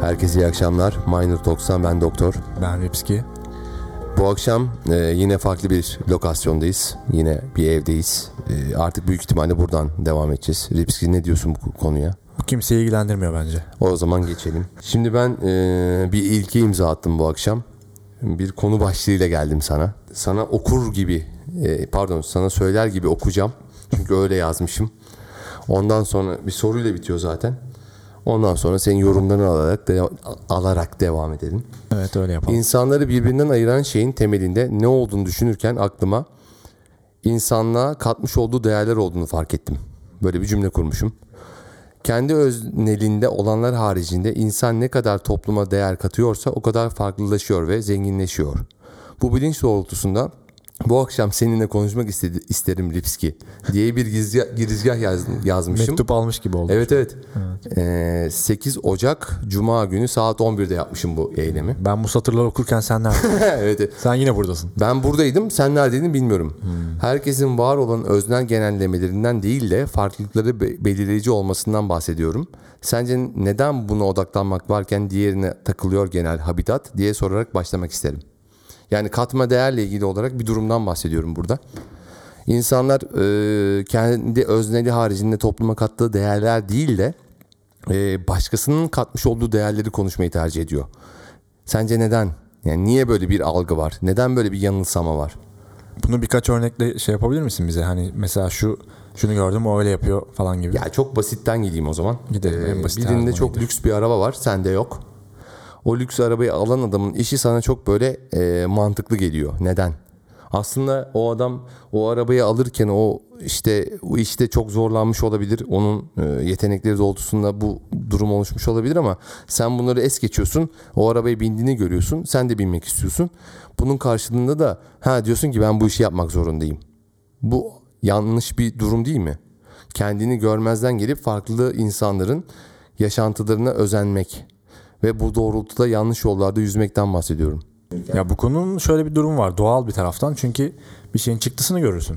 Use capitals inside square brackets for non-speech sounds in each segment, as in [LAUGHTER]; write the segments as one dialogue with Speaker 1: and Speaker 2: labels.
Speaker 1: Herkese iyi akşamlar. Minor Talks'tan ben Doktor.
Speaker 2: Ben Ripski.
Speaker 1: Bu akşam e, yine farklı bir lokasyondayız. Yine bir evdeyiz. E, artık büyük ihtimalle buradan devam edeceğiz. Ripski ne diyorsun bu konuya?
Speaker 2: Bu kimseyi ilgilendirmiyor bence.
Speaker 1: O zaman geçelim. Şimdi ben e, bir ilke imza attım bu akşam. Bir konu başlığıyla geldim sana. Sana okur gibi, e, pardon sana söyler gibi okuyacağım. Çünkü öyle yazmışım. Ondan sonra bir soruyla bitiyor zaten. Ondan sonra senin yorumlarını alarak, de, alarak devam edelim.
Speaker 2: Evet öyle yapalım.
Speaker 1: İnsanları birbirinden ayıran şeyin temelinde ne olduğunu düşünürken aklıma insanlığa katmış olduğu değerler olduğunu fark ettim. Böyle bir cümle kurmuşum. Kendi öznelinde olanlar haricinde insan ne kadar topluma değer katıyorsa o kadar farklılaşıyor ve zenginleşiyor. Bu bilinç doğrultusunda bu akşam seninle konuşmak istedi, isterim Lipski diye bir girizgah, girizgah yaz- yazmışım.
Speaker 2: Mektup almış gibi oldu.
Speaker 1: Evet evet. Ee, 8 Ocak Cuma günü saat 11'de yapmışım bu eylemi. [LAUGHS]
Speaker 2: Ben bu satırları okurken sen [LAUGHS] neredesin?
Speaker 1: evet. evet.
Speaker 2: sen yine buradasın.
Speaker 1: Ben buradaydım, sen neredeydin bilmiyorum. Herkesin var olan öznel genellemelerinden değil de farklılıkları be- belirleyici olmasından bahsediyorum. Sence neden buna odaklanmak varken diğerine takılıyor genel habitat diye sorarak başlamak isterim. Yani katma değerle ilgili olarak bir durumdan bahsediyorum burada. İnsanlar e, kendi özneli haricinde topluma kattığı değerler değil de e, başkasının katmış olduğu değerleri konuşmayı tercih ediyor. Sence neden? Yani niye böyle bir algı var? Neden böyle bir yanılsama var?
Speaker 2: Bunu birkaç örnekle şey yapabilir misin bize? Hani mesela şu şunu gördüm o öyle yapıyor falan gibi.
Speaker 1: Ya çok basitten gideyim o zaman. Ee,
Speaker 2: Gidelim, en basit
Speaker 1: birinde
Speaker 2: her
Speaker 1: çok lüks bir araba var, sende yok. O lüks arabayı alan adamın işi sana çok böyle e, mantıklı geliyor. Neden? Aslında o adam o arabayı alırken o işte o işte çok zorlanmış olabilir. Onun e, yetenekleri doğrultusunda bu durum oluşmuş olabilir ama sen bunları es geçiyorsun. O arabaya bindiğini görüyorsun. Sen de binmek istiyorsun. Bunun karşılığında da ha diyorsun ki ben bu işi yapmak zorundayım. Bu yanlış bir durum değil mi? Kendini görmezden gelip farklı insanların yaşantılarına özenmek ve bu doğrultuda yanlış yollarda yüzmekten bahsediyorum.
Speaker 2: Ya bu konunun şöyle bir durumu var doğal bir taraftan. Çünkü bir şeyin çıktısını görürsün.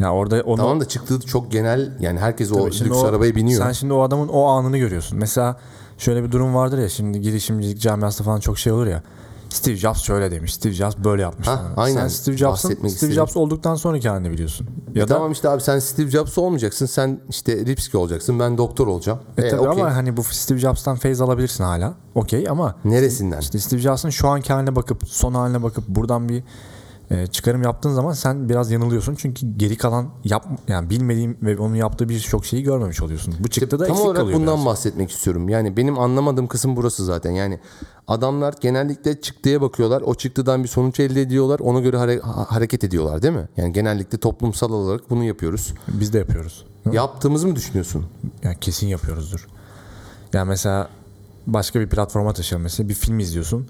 Speaker 2: Ya orada onu
Speaker 1: Tamam da çıktığı çok genel yani herkes o
Speaker 2: Şimdi
Speaker 1: lüks
Speaker 2: o-
Speaker 1: arabaya biniyor. E
Speaker 2: Sen şimdi o adamın o anını görüyorsun. Mesela şöyle bir durum vardır ya şimdi girişimcilik camiasında falan çok şey olur ya. Steve Jobs şöyle demiş, Steve Jobs böyle yapmış.
Speaker 1: Ha,
Speaker 2: falan.
Speaker 1: aynen.
Speaker 2: Sen Steve Jobs'ın,
Speaker 1: Bahsetmek
Speaker 2: Steve
Speaker 1: istedim. E,
Speaker 2: Jobs olduktan sonraki halini biliyorsun. Ya da
Speaker 1: tamam işte abi sen Steve Jobs olmayacaksın. Sen işte Ripski olacaksın. Ben doktor olacağım.
Speaker 2: E tabii
Speaker 1: okey.
Speaker 2: ama hani bu Steve Jobs'tan feyz alabilirsin hala. Okey ama
Speaker 1: neresinden?
Speaker 2: işte Steve Jobs'ın şu anki haline bakıp son haline bakıp buradan bir e, çıkarım yaptığın zaman sen biraz yanılıyorsun. Çünkü geri kalan yap yani bilmediğim ve onun yaptığı birçok şeyi görmemiş oluyorsun. Bu çıktı da
Speaker 1: Tam
Speaker 2: eksik
Speaker 1: olarak
Speaker 2: kalıyor.
Speaker 1: bundan
Speaker 2: biraz.
Speaker 1: bahsetmek istiyorum. Yani benim anlamadığım kısım burası zaten. Yani adamlar genellikle çıktıya bakıyorlar. O çıktıdan bir sonuç elde ediyorlar. Ona göre hare- ha- hareket ediyorlar değil mi? Yani genellikle toplumsal olarak bunu yapıyoruz.
Speaker 2: Biz de yapıyoruz.
Speaker 1: Yaptığımızı mı düşünüyorsun?
Speaker 2: Yani kesin yapıyoruzdur. Yani mesela başka bir platforma taşıyalım mesela bir film izliyorsun.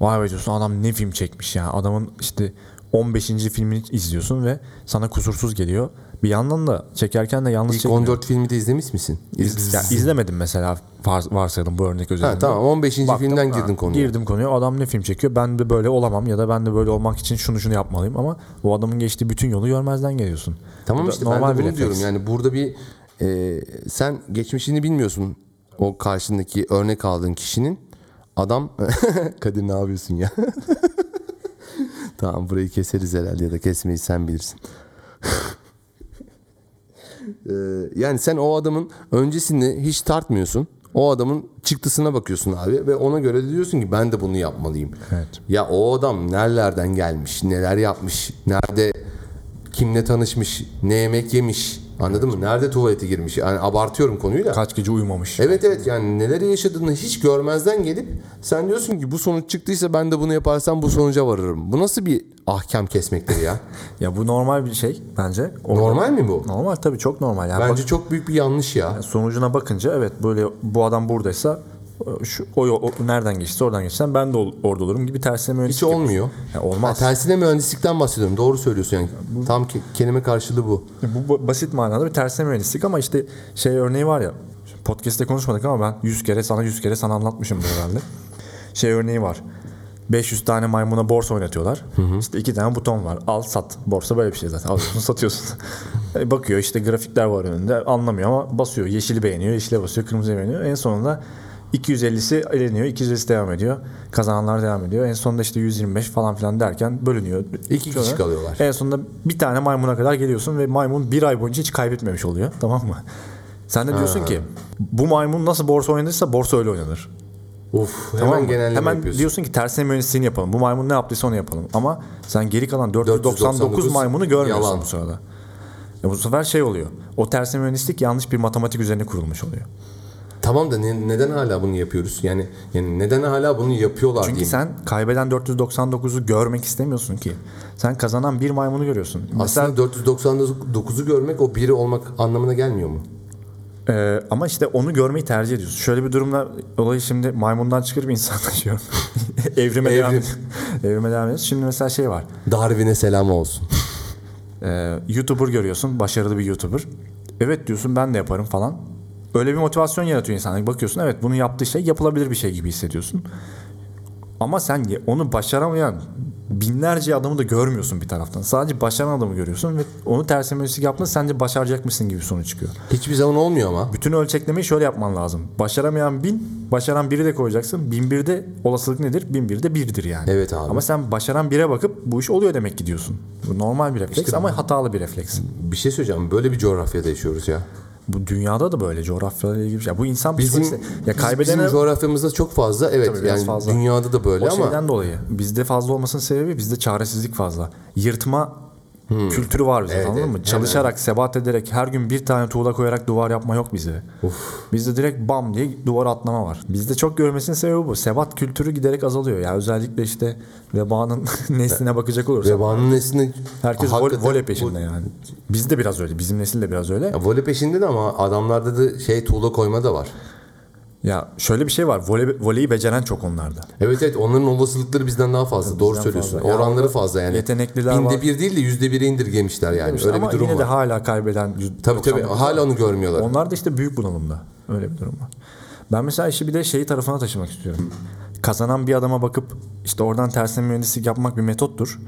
Speaker 2: Vay be diyorsun adam ne film çekmiş ya. Adamın işte 15. filmini izliyorsun ve sana kusursuz geliyor. Bir yandan da çekerken de yalnız
Speaker 1: İlk
Speaker 2: çekmiyor.
Speaker 1: 14 filmi de izlemiş misin? İz-
Speaker 2: Ya izlemedim mesela var- varsayalım bu örnek özelinde.
Speaker 1: Ha, tamam 15.
Speaker 2: Baktım,
Speaker 1: filmden
Speaker 2: ha,
Speaker 1: girdin konuya.
Speaker 2: Girdim konuya. Adam ne film çekiyor? Ben de böyle olamam ya da ben de böyle olmak için şunu şunu yapmalıyım ama bu adamın geçtiği bütün yolu görmezden geliyorsun.
Speaker 1: Tamam
Speaker 2: Bu da
Speaker 1: işte ben de bunu
Speaker 2: refleks.
Speaker 1: diyorum. Yani burada bir e, sen geçmişini bilmiyorsun o karşındaki örnek aldığın kişinin. Adam [LAUGHS] Kadir ne yapıyorsun ya? [LAUGHS] tamam burayı keseriz herhalde ya da kesmeyi sen bilirsin. [LAUGHS] E, yani sen o adamın öncesini hiç tartmıyorsun. O adamın çıktısına bakıyorsun abi ve ona göre de diyorsun ki ben de bunu yapmalıyım.
Speaker 2: Evet.
Speaker 1: Ya o adam nerelerden gelmiş, neler yapmış, nerede kimle tanışmış, ne yemek yemiş, anladın mı? Nerede tuvalete girmiş? Yani abartıyorum konuyu da.
Speaker 2: Kaç gece uyumamış.
Speaker 1: Evet evet yani neleri yaşadığını hiç görmezden gelip sen diyorsun ki bu sonuç çıktıysa ben de bunu yaparsam bu sonuca varırım. Bu nasıl bir ahkam kesmektir
Speaker 2: [LAUGHS]
Speaker 1: ya?
Speaker 2: Ya bu normal bir şey bence. O-
Speaker 1: Normal mi bu?
Speaker 2: Normal tabii çok normal. Yani
Speaker 1: Bence çok büyük bir yanlış ya.
Speaker 2: bak- sonucuna bakınca evet böyle bu adam buradaysa şu o, yol- o nereden geçti oradan geçsen ben de ol- orada olurum gibi tersine
Speaker 1: Hiç olmuyor.
Speaker 2: Ya
Speaker 1: Ha,
Speaker 2: olmaz.
Speaker 1: tersine mühendislikten bahsediyorum. Doğru söylüyorsun yani. Tam ke- kelime karşılığı bu.
Speaker 2: Bu ba- basit manada bir tersine mühendislik ama işte şey örneği var ya. şimdi Podcast'te konuşmadık ama ben 100 kere sana 100 kere sana anlatmışım herhalde. şey örneği var. 500 tane maymuna borsa oynatıyorlar. İşte iki tane buton var. Al sat. Borsa böyle bir şey zaten. Alıyorsun [LAUGHS] satıyorsun. E, Bakıyor işte grafikler var önünde. Anlamıyor ama basıyor. Yeşili beğeniyor. Yeşile basıyor. Kırmızıyı beğeniyor. En sonunda 250'si eleniyor, 250'si devam ediyor. Kazananlar devam ediyor. En sonunda işte 125 falan filan derken bölünüyor.
Speaker 1: İki kişi kalıyorlar.
Speaker 2: En sonunda bir tane maymuna kadar geliyorsun ve maymun bir ay boyunca hiç kaybetmemiş oluyor. Tamam mı? Sen de diyorsun ki bu maymun nasıl borsa oynadıysa borsa öyle oynanır.
Speaker 1: Uf, hemen
Speaker 2: Tamam mı?
Speaker 1: genelleme
Speaker 2: Hemen
Speaker 1: yapıyorsun.
Speaker 2: diyorsun ki tersine mühendisliğini yapalım. Bu maymun ne yaptıysa onu yapalım. Ama sen geri kalan 499,
Speaker 1: 499
Speaker 2: maymunu görmüyorsun
Speaker 1: yalan.
Speaker 2: bu sırada. Ya bu sefer şey oluyor. O tersine mühendislik yanlış bir matematik üzerine kurulmuş oluyor.
Speaker 1: Tamam da ne- neden hala bunu yapıyoruz? Yani yani neden hala bunu yapıyorlar
Speaker 2: Çünkü
Speaker 1: diyeyim.
Speaker 2: sen kaybeden 499'u görmek istemiyorsun ki. Sen kazanan bir maymunu görüyorsun. Mesela
Speaker 1: Aslında 499'u görmek o biri olmak anlamına gelmiyor mu?
Speaker 2: Ee, ama işte onu görmeyi tercih ediyorsun. Şöyle bir durumda olayı şimdi maymundan çıkarıp [LAUGHS] insanlaşıyorum. Evrime devam
Speaker 1: Evrim.
Speaker 2: ediyoruz. Evrime devam ediyoruz. Şimdi mesela şey var.
Speaker 1: Darwin'e selam
Speaker 2: [LAUGHS]
Speaker 1: olsun.
Speaker 2: Ee, YouTuber görüyorsun. Başarılı bir YouTuber. Evet diyorsun ben de yaparım falan. Öyle bir motivasyon yaratıyor insana. Bakıyorsun evet bunu yaptığı şey yapılabilir bir şey gibi hissediyorsun. Ama sen ye- onu başaramayan binlerce adamı da görmüyorsun bir taraftan. Sadece başaran adamı görüyorsun ve onu tersine mühendislik yaptın sence başaracakmışsın gibi sonuç çıkıyor.
Speaker 1: Hiçbir zaman olmuyor ama.
Speaker 2: Bütün ölçeklemeyi şöyle yapman lazım. Başaramayan bin, başaran biri de koyacaksın. Bin birde olasılık nedir? Bin birde birdir yani.
Speaker 1: Evet abi.
Speaker 2: Ama sen başaran bire bakıp bu iş oluyor demek ki diyorsun. Bu normal bir refleks ama hatalı bir refleks.
Speaker 1: Bir şey söyleyeceğim. Böyle bir coğrafyada yaşıyoruz ya.
Speaker 2: Bu dünyada da böyle coğrafyayla ilgili bir şey. Bu insan
Speaker 1: Bizim,
Speaker 2: psikolojisi. Ya
Speaker 1: biz-
Speaker 2: kaybedene
Speaker 1: bizim coğrafyamızda çok fazla. Evet
Speaker 2: Tabii biraz
Speaker 1: yani
Speaker 2: fazla.
Speaker 1: dünyada da böyle
Speaker 2: o
Speaker 1: ama
Speaker 2: şeyden dolayı. Bizde fazla olmasının sebebi bizde çaresizlik fazla. Yırtma kültürü var bizde anladın
Speaker 1: Hmm. evet.
Speaker 2: mı? Çalışarak, sebat ederek, her gün bir tane tuğla koyarak duvar yapma yok bizde. Bizde direkt bam diye duvar atlama var. Bizde çok görmesinin sebebi bu. Sebat kültürü giderek azalıyor. Yani özellikle işte vebanın [LAUGHS] nesline bakacak olursak.
Speaker 1: vebanın neslinde
Speaker 2: Herkes vol-
Speaker 1: hakikaten
Speaker 2: voley
Speaker 1: bu-
Speaker 2: peşinde yani. Bizde biraz öyle. Bizim nesil de biraz öyle.
Speaker 1: Ya voley peşinde de ama adamlarda da şey tuğla koyma da var.
Speaker 2: Ya şöyle bir şey var. Voley, voleyi beceren çok onlarda.
Speaker 1: Evet evet onların olasılıkları bizden daha fazla. Doğru
Speaker 2: bizden
Speaker 1: söylüyorsun.
Speaker 2: fazla. Ya
Speaker 1: Oranları
Speaker 2: orada
Speaker 1: fazla yani.
Speaker 2: yetenekliler
Speaker 1: Binde
Speaker 2: var.
Speaker 1: bir değil de yüzde bire indirgemişler yani. Öyle
Speaker 2: Ama
Speaker 1: bir durum
Speaker 2: yine
Speaker 1: var.
Speaker 2: de hala kaybeden yüz-
Speaker 1: Tabii tabii
Speaker 2: 99
Speaker 1: hala onu görmüyorlar.
Speaker 2: Onlar da işte büyük bunalımda. Öyle bir durum var. Ben mesela işi bir de şeyi tarafına taşımak istiyorum. Kazanan bir adama bakıp işte oradan tersine mühendislik yapmak bir metottur.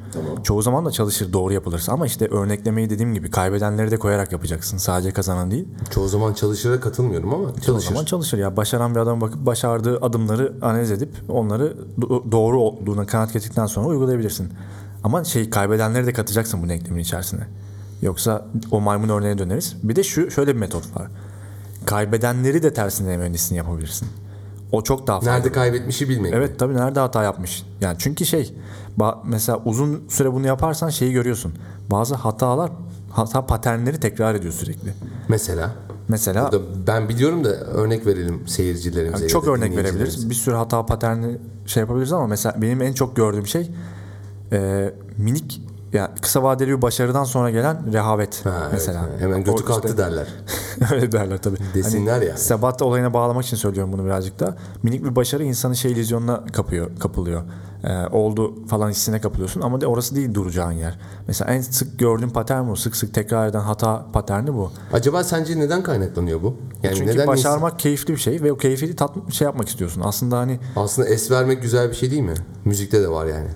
Speaker 2: Çoğu zaman da çalışır doğru yapılırsa ama işte örneklemeyi dediğim gibi kaybedenleri de koyarak yapacaksın. Sadece kazanan değil.
Speaker 1: Çoğu zaman çalışıra katılmıyorum ama
Speaker 2: O
Speaker 1: çalışır.
Speaker 2: zaman çalışır ya. Başaran bir adama bakıp başardığı adımları analiz edip onları do- doğru olduğuna kanaat getirdikten sonra uygulayabilirsin. Ama şey kaybedenleri de katacaksın bu denklemin içerisine. Yoksa o maymun örneğine döneriz. Bir de şu şöyle bir metot var. Kaybedenleri de tersine mühendisliğini yapabilirsin. O çok daha fazla.
Speaker 1: Nerede kaybetmişi bilmek.
Speaker 2: Evet tabii nerede hata yapmış. Yani çünkü şey ba- mesela uzun süre bunu yaparsan şeyi görüyorsun. Bazı hatalar hata paternleri tekrar ediyor sürekli.
Speaker 1: Mesela
Speaker 2: Mesela
Speaker 1: da ben biliyorum da örnek verelim seyircilerimize. ya
Speaker 2: Hani Çok
Speaker 1: da
Speaker 2: örnek
Speaker 1: dinleyicilerimize.
Speaker 2: verebiliriz. Bir sürü hata paterni şey yapabiliriz ama mesela benim en çok gördüğüm şey e, minik yani kısa vadeli bir başarıdan sonra gelen rehavet
Speaker 1: Ha, evet,
Speaker 2: mesela.
Speaker 1: ha. hemen götü
Speaker 2: O
Speaker 1: kalktı
Speaker 2: işte- hani
Speaker 1: derler.
Speaker 2: [LAUGHS] Öyle derler tabii.
Speaker 1: Desinler
Speaker 2: hani,
Speaker 1: yani.
Speaker 2: Sebat olayına bağlamak için söylüyorum bunu birazcık da. Minik bir başarı insanı şey illüzyonuna kapıyor, kapılıyor. E, oldu falan hissine kapılıyorsun ama de orası değil duracağın yer. Mesela en sık gördüğüm patern bu. Sık sık tekrar eden hata paterni bu.
Speaker 1: Acaba sence neden kaynaklanıyor bu? Yani
Speaker 2: Çünkü
Speaker 1: neden
Speaker 2: başarmak keyifli bir şey ve o keyfi tat şey yapmak istiyorsun. Aslında hani
Speaker 1: ins- aslında es vermek güzel bir şey değil mi? Müzikte de var yani.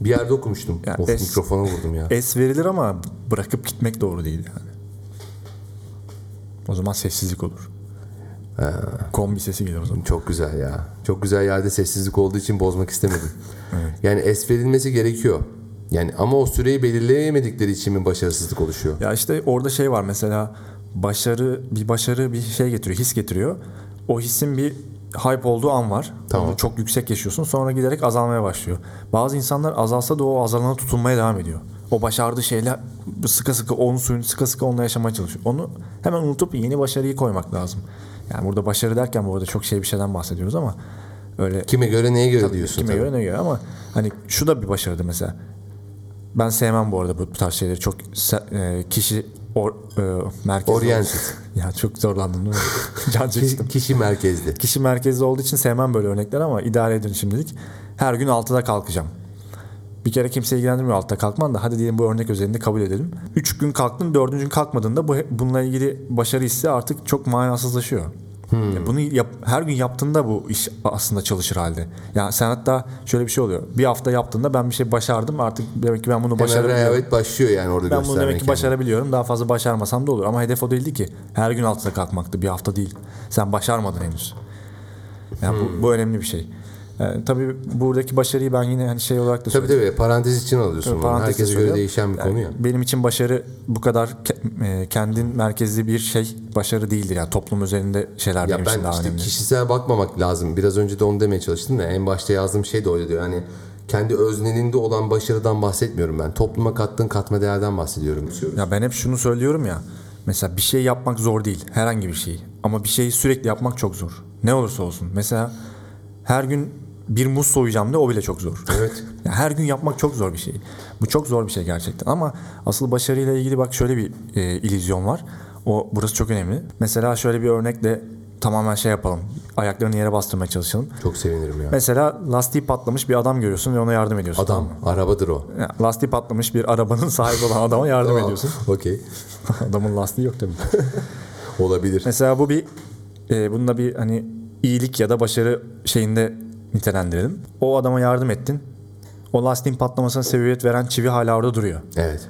Speaker 1: Bir yerde okumuştum.
Speaker 2: Ya
Speaker 1: of
Speaker 2: es-
Speaker 1: mikrofona vurdum
Speaker 2: [LAUGHS]
Speaker 1: ya.
Speaker 2: Es verilir ama bırakıp gitmek doğru değil yani. O zaman sessizlik olur. Kombi sesi gelir o zaman.
Speaker 1: Çok güzel ya. Çok güzel yerde sessizlik olduğu için bozmak
Speaker 2: [LAUGHS]
Speaker 1: istemedim. Yani es verilmesi gerekiyor. Yani ama o süreyi belirleyemedikleri için mi başarısızlık oluşuyor?
Speaker 2: Ya işte orada şey var mesela başarı bir başarı bir şey getiriyor, his getiriyor. O hissin bir hype olduğu an var.
Speaker 1: Tamam.
Speaker 2: Onu çok yüksek yaşıyorsun. Sonra giderek azalmaya başlıyor. Bazı insanlar azalsa da o azalana tutunmaya devam ediyor. O başardığı şeyler sıkı sıkı onun suyunu sıkı sıkı onunla yaşamaya çalışıyor. Onu hemen unutup yeni başarıyı koymak lazım. Yani burada başarı derken bu arada çok şey bir şeyden bahsediyoruz ama öyle
Speaker 1: Kime göre neye göre diyorsun
Speaker 2: Kime
Speaker 1: tabii.
Speaker 2: göre ne göre ama hani şu da bir başarıdır mesela. Ben sevmem bu arada bu, bu tarz şeyleri. Çok se- e, kişi or, e, merkezli.
Speaker 1: Oriented.
Speaker 2: [LAUGHS] ya çok zorlandım değil mi? Can çekiştim.
Speaker 1: Ki- Kişi merkezli.
Speaker 2: Kişi merkezli olduğu için sevmem böyle örnekler ama idare edin şimdilik. Her gün 6'da kalkacağım. Bir kere kimse ilgilendirmiyor altta kalkman da hadi diyelim bu örnek özelinde kabul edelim. 3 gün kalktın 4. gün kalkmadığında bu bununla ilgili başarı hissi artık çok manasızlaşıyor. Ya Bunu yap- her gün yaptığında bu iş aslında çalışır halde. Yani sen hatta şöyle bir şey oluyor. Bir hafta yaptığında ben bir şey başardım artık demek ki ben bunu
Speaker 1: Hemen
Speaker 2: başarabiliyorum.
Speaker 1: rehavet başlıyor yani orada
Speaker 2: Ben bunu
Speaker 1: göstermek.
Speaker 2: demek ki başarabiliyorum. Daha fazla başarmasam da olur. Ama hedef o değildi ki. Her gün altıda kalkmaktı. Bir hafta değil. Sen başarmadın henüz. Yani bu, bu önemli bir şey. Ee, tabii buradaki başarıyı ben yine hani şey olarak da
Speaker 1: Tabii tabii parantez için alıyorsun. bunu.
Speaker 2: Parantezle
Speaker 1: Herkese göre
Speaker 2: söylüyorum.
Speaker 1: değişen bir
Speaker 2: Yani
Speaker 1: konu ya.
Speaker 2: Benim için başarı bu kadar ke- e, kendin merkezli bir şey başarı değildir. Yani toplum üzerinde
Speaker 1: Ya
Speaker 2: şeyler benim
Speaker 1: ben
Speaker 2: için daha
Speaker 1: işte
Speaker 2: önemli.
Speaker 1: kişisel bakmamak lazım. Biraz önce de onu demeye çalıştım da en başta yazdığım şey de öyle diyor. Yani kendi öznelinde olan başarıdan bahsetmiyorum ben. Topluma kattığın katma değerden bahsediyorum.
Speaker 2: Ya ben hep şunu söylüyorum ya. Mesela bir şey yapmak zor değil. Herhangi bir şeyi. Ama bir şeyi sürekli yapmak çok zor. Ne olursa olsun. Mesela her gün bir muz soyacağım de o bile çok zor.
Speaker 1: Evet.
Speaker 2: Ya her gün yapmak çok zor bir şey. Bu çok zor bir şey gerçekten. Ama asıl başarıyla ilgili bak şöyle bir e, illüzyon var. O burası çok önemli. Mesela şöyle bir örnekle tamamen şey yapalım. Ayaklarını yere bastırmaya çalışalım.
Speaker 1: Çok sevinirim ya.
Speaker 2: Mesela lastiği patlamış bir adam görüyorsun ve ona yardım ediyorsun.
Speaker 1: Adam, arabadır o.
Speaker 2: Ya, lastiği patlamış bir arabanın [LAUGHS] sahibi olan adama yardım ediyorsun.
Speaker 1: Okey.
Speaker 2: [LAUGHS] Adamın lastiği yok tabii.
Speaker 1: Olabilir.
Speaker 2: Mesela bu bir e, bununla bir hani iyilik ya da başarı şeyinde nitelendirelim. O adama yardım ettin. O lastiğin patlamasına sebebiyet veren çivi hala orada duruyor.
Speaker 1: Evet.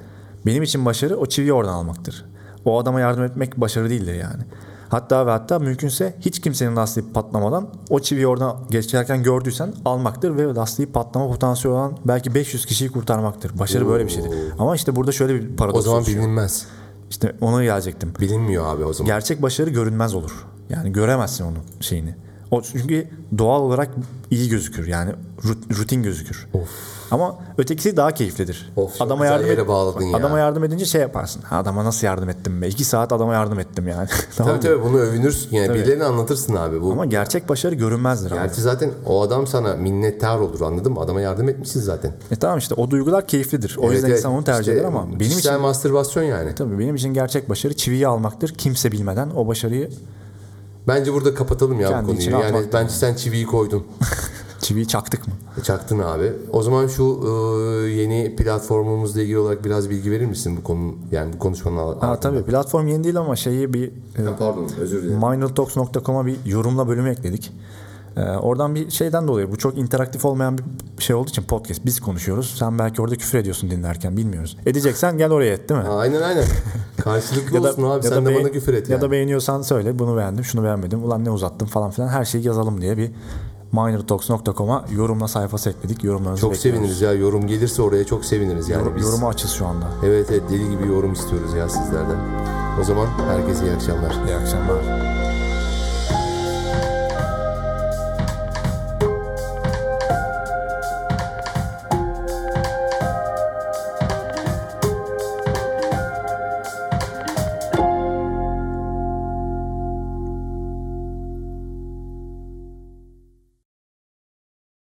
Speaker 2: Benim için başarı o çiviyi oradan almaktır. O adama yardım etmek başarı değildir yani. Hatta ve hatta mümkünse hiç kimsenin lastiği patlamadan o çiviyi oradan geçerken gördüysen almaktır ve lastiği patlama potansiyeli olan belki 500 kişiyi kurtarmaktır. Başarı böyle bir şeydir. Ama işte burada şöyle bir paradoks
Speaker 1: O zaman
Speaker 2: oluşuyor.
Speaker 1: bilinmez.
Speaker 2: İşte ona gelecektim.
Speaker 1: Bilinmiyor abi o zaman.
Speaker 2: Gerçek başarı görünmez olur. Yani göremezsin onun şeyini. O çünkü doğal olarak iyi gözükür. Yani rut- rutin gözükür. Ama ötekisi daha keyiflidir.
Speaker 1: Of, çok güzel yere bağladın ya.
Speaker 2: Adama yardım edince şey yaparsın. "Ha, Adama nasıl yardım ettim be? İki saat adama yardım ettim yani. [LAUGHS] tamam
Speaker 1: Tabii
Speaker 2: mı?
Speaker 1: tabii bunu övünürsün. Yani birilerine anlatırsın abi bu.
Speaker 2: Ama gerçek başarı görünmezdir. abi.
Speaker 1: Gerçi zaten o adam sana minnettar olur anladın mı? Adama yardım etmişsin zaten.
Speaker 2: E tamam işte o duygular keyiflidir. O yüzden insan onu tercih eder ama benim için
Speaker 1: kişisel mastürbasyon yani.
Speaker 2: tabii benim için gerçek başarı çiviyi almaktır. Kimse bilmeden o başarıyı
Speaker 1: Bence burada kapatalım ya
Speaker 2: Kendi
Speaker 1: bu konuyu.
Speaker 2: içine
Speaker 1: Yani
Speaker 2: atmak.
Speaker 1: bence sen çiviyi koydun. e,
Speaker 2: çiviyi çaktık mı?
Speaker 1: Çaktın abi. O zaman şu e, yeni platformumuzla ilgili olarak biraz bilgi verir misin bu konu yani bu konuşmanın al-
Speaker 2: Ha
Speaker 1: altında?
Speaker 2: tabii platform yeni değil ama şeyi bir e,
Speaker 1: Ha, Pardon özür dilerim.
Speaker 2: Mindletox.com'a bir yorumla bölümü ekledik. Ee, oradan bir şeyden dolayı bu çok interaktif olmayan bir şey olduğu için podcast biz konuşuyoruz. Sen belki orada küfür ediyorsun dinlerken bilmiyoruz. Edeceksen gel oraya et değil mi?
Speaker 1: Ha, Aynen aynen.
Speaker 2: [LAUGHS]
Speaker 1: Karşılıklı olsun abi sen de
Speaker 2: beğen-
Speaker 1: bana küfür et
Speaker 2: Ya
Speaker 1: yani.
Speaker 2: da beğeniyorsan söyle bunu beğendim şunu beğenmedim ulan ne uzattım falan filan her şeyi yazalım diye bir minortalks.com'a yorumla sayfası ekledik. Yorumlarınızı
Speaker 1: Çok
Speaker 2: bekliyoruz.
Speaker 1: seviniriz ya yorum gelirse oraya çok seviniriz yani biz.
Speaker 2: Yorumu açız şu anda.
Speaker 1: Evet evet deli gibi yorum istiyoruz ya sizlerden. O zaman herkese iyi akşamlar.
Speaker 2: İyi akşamlar.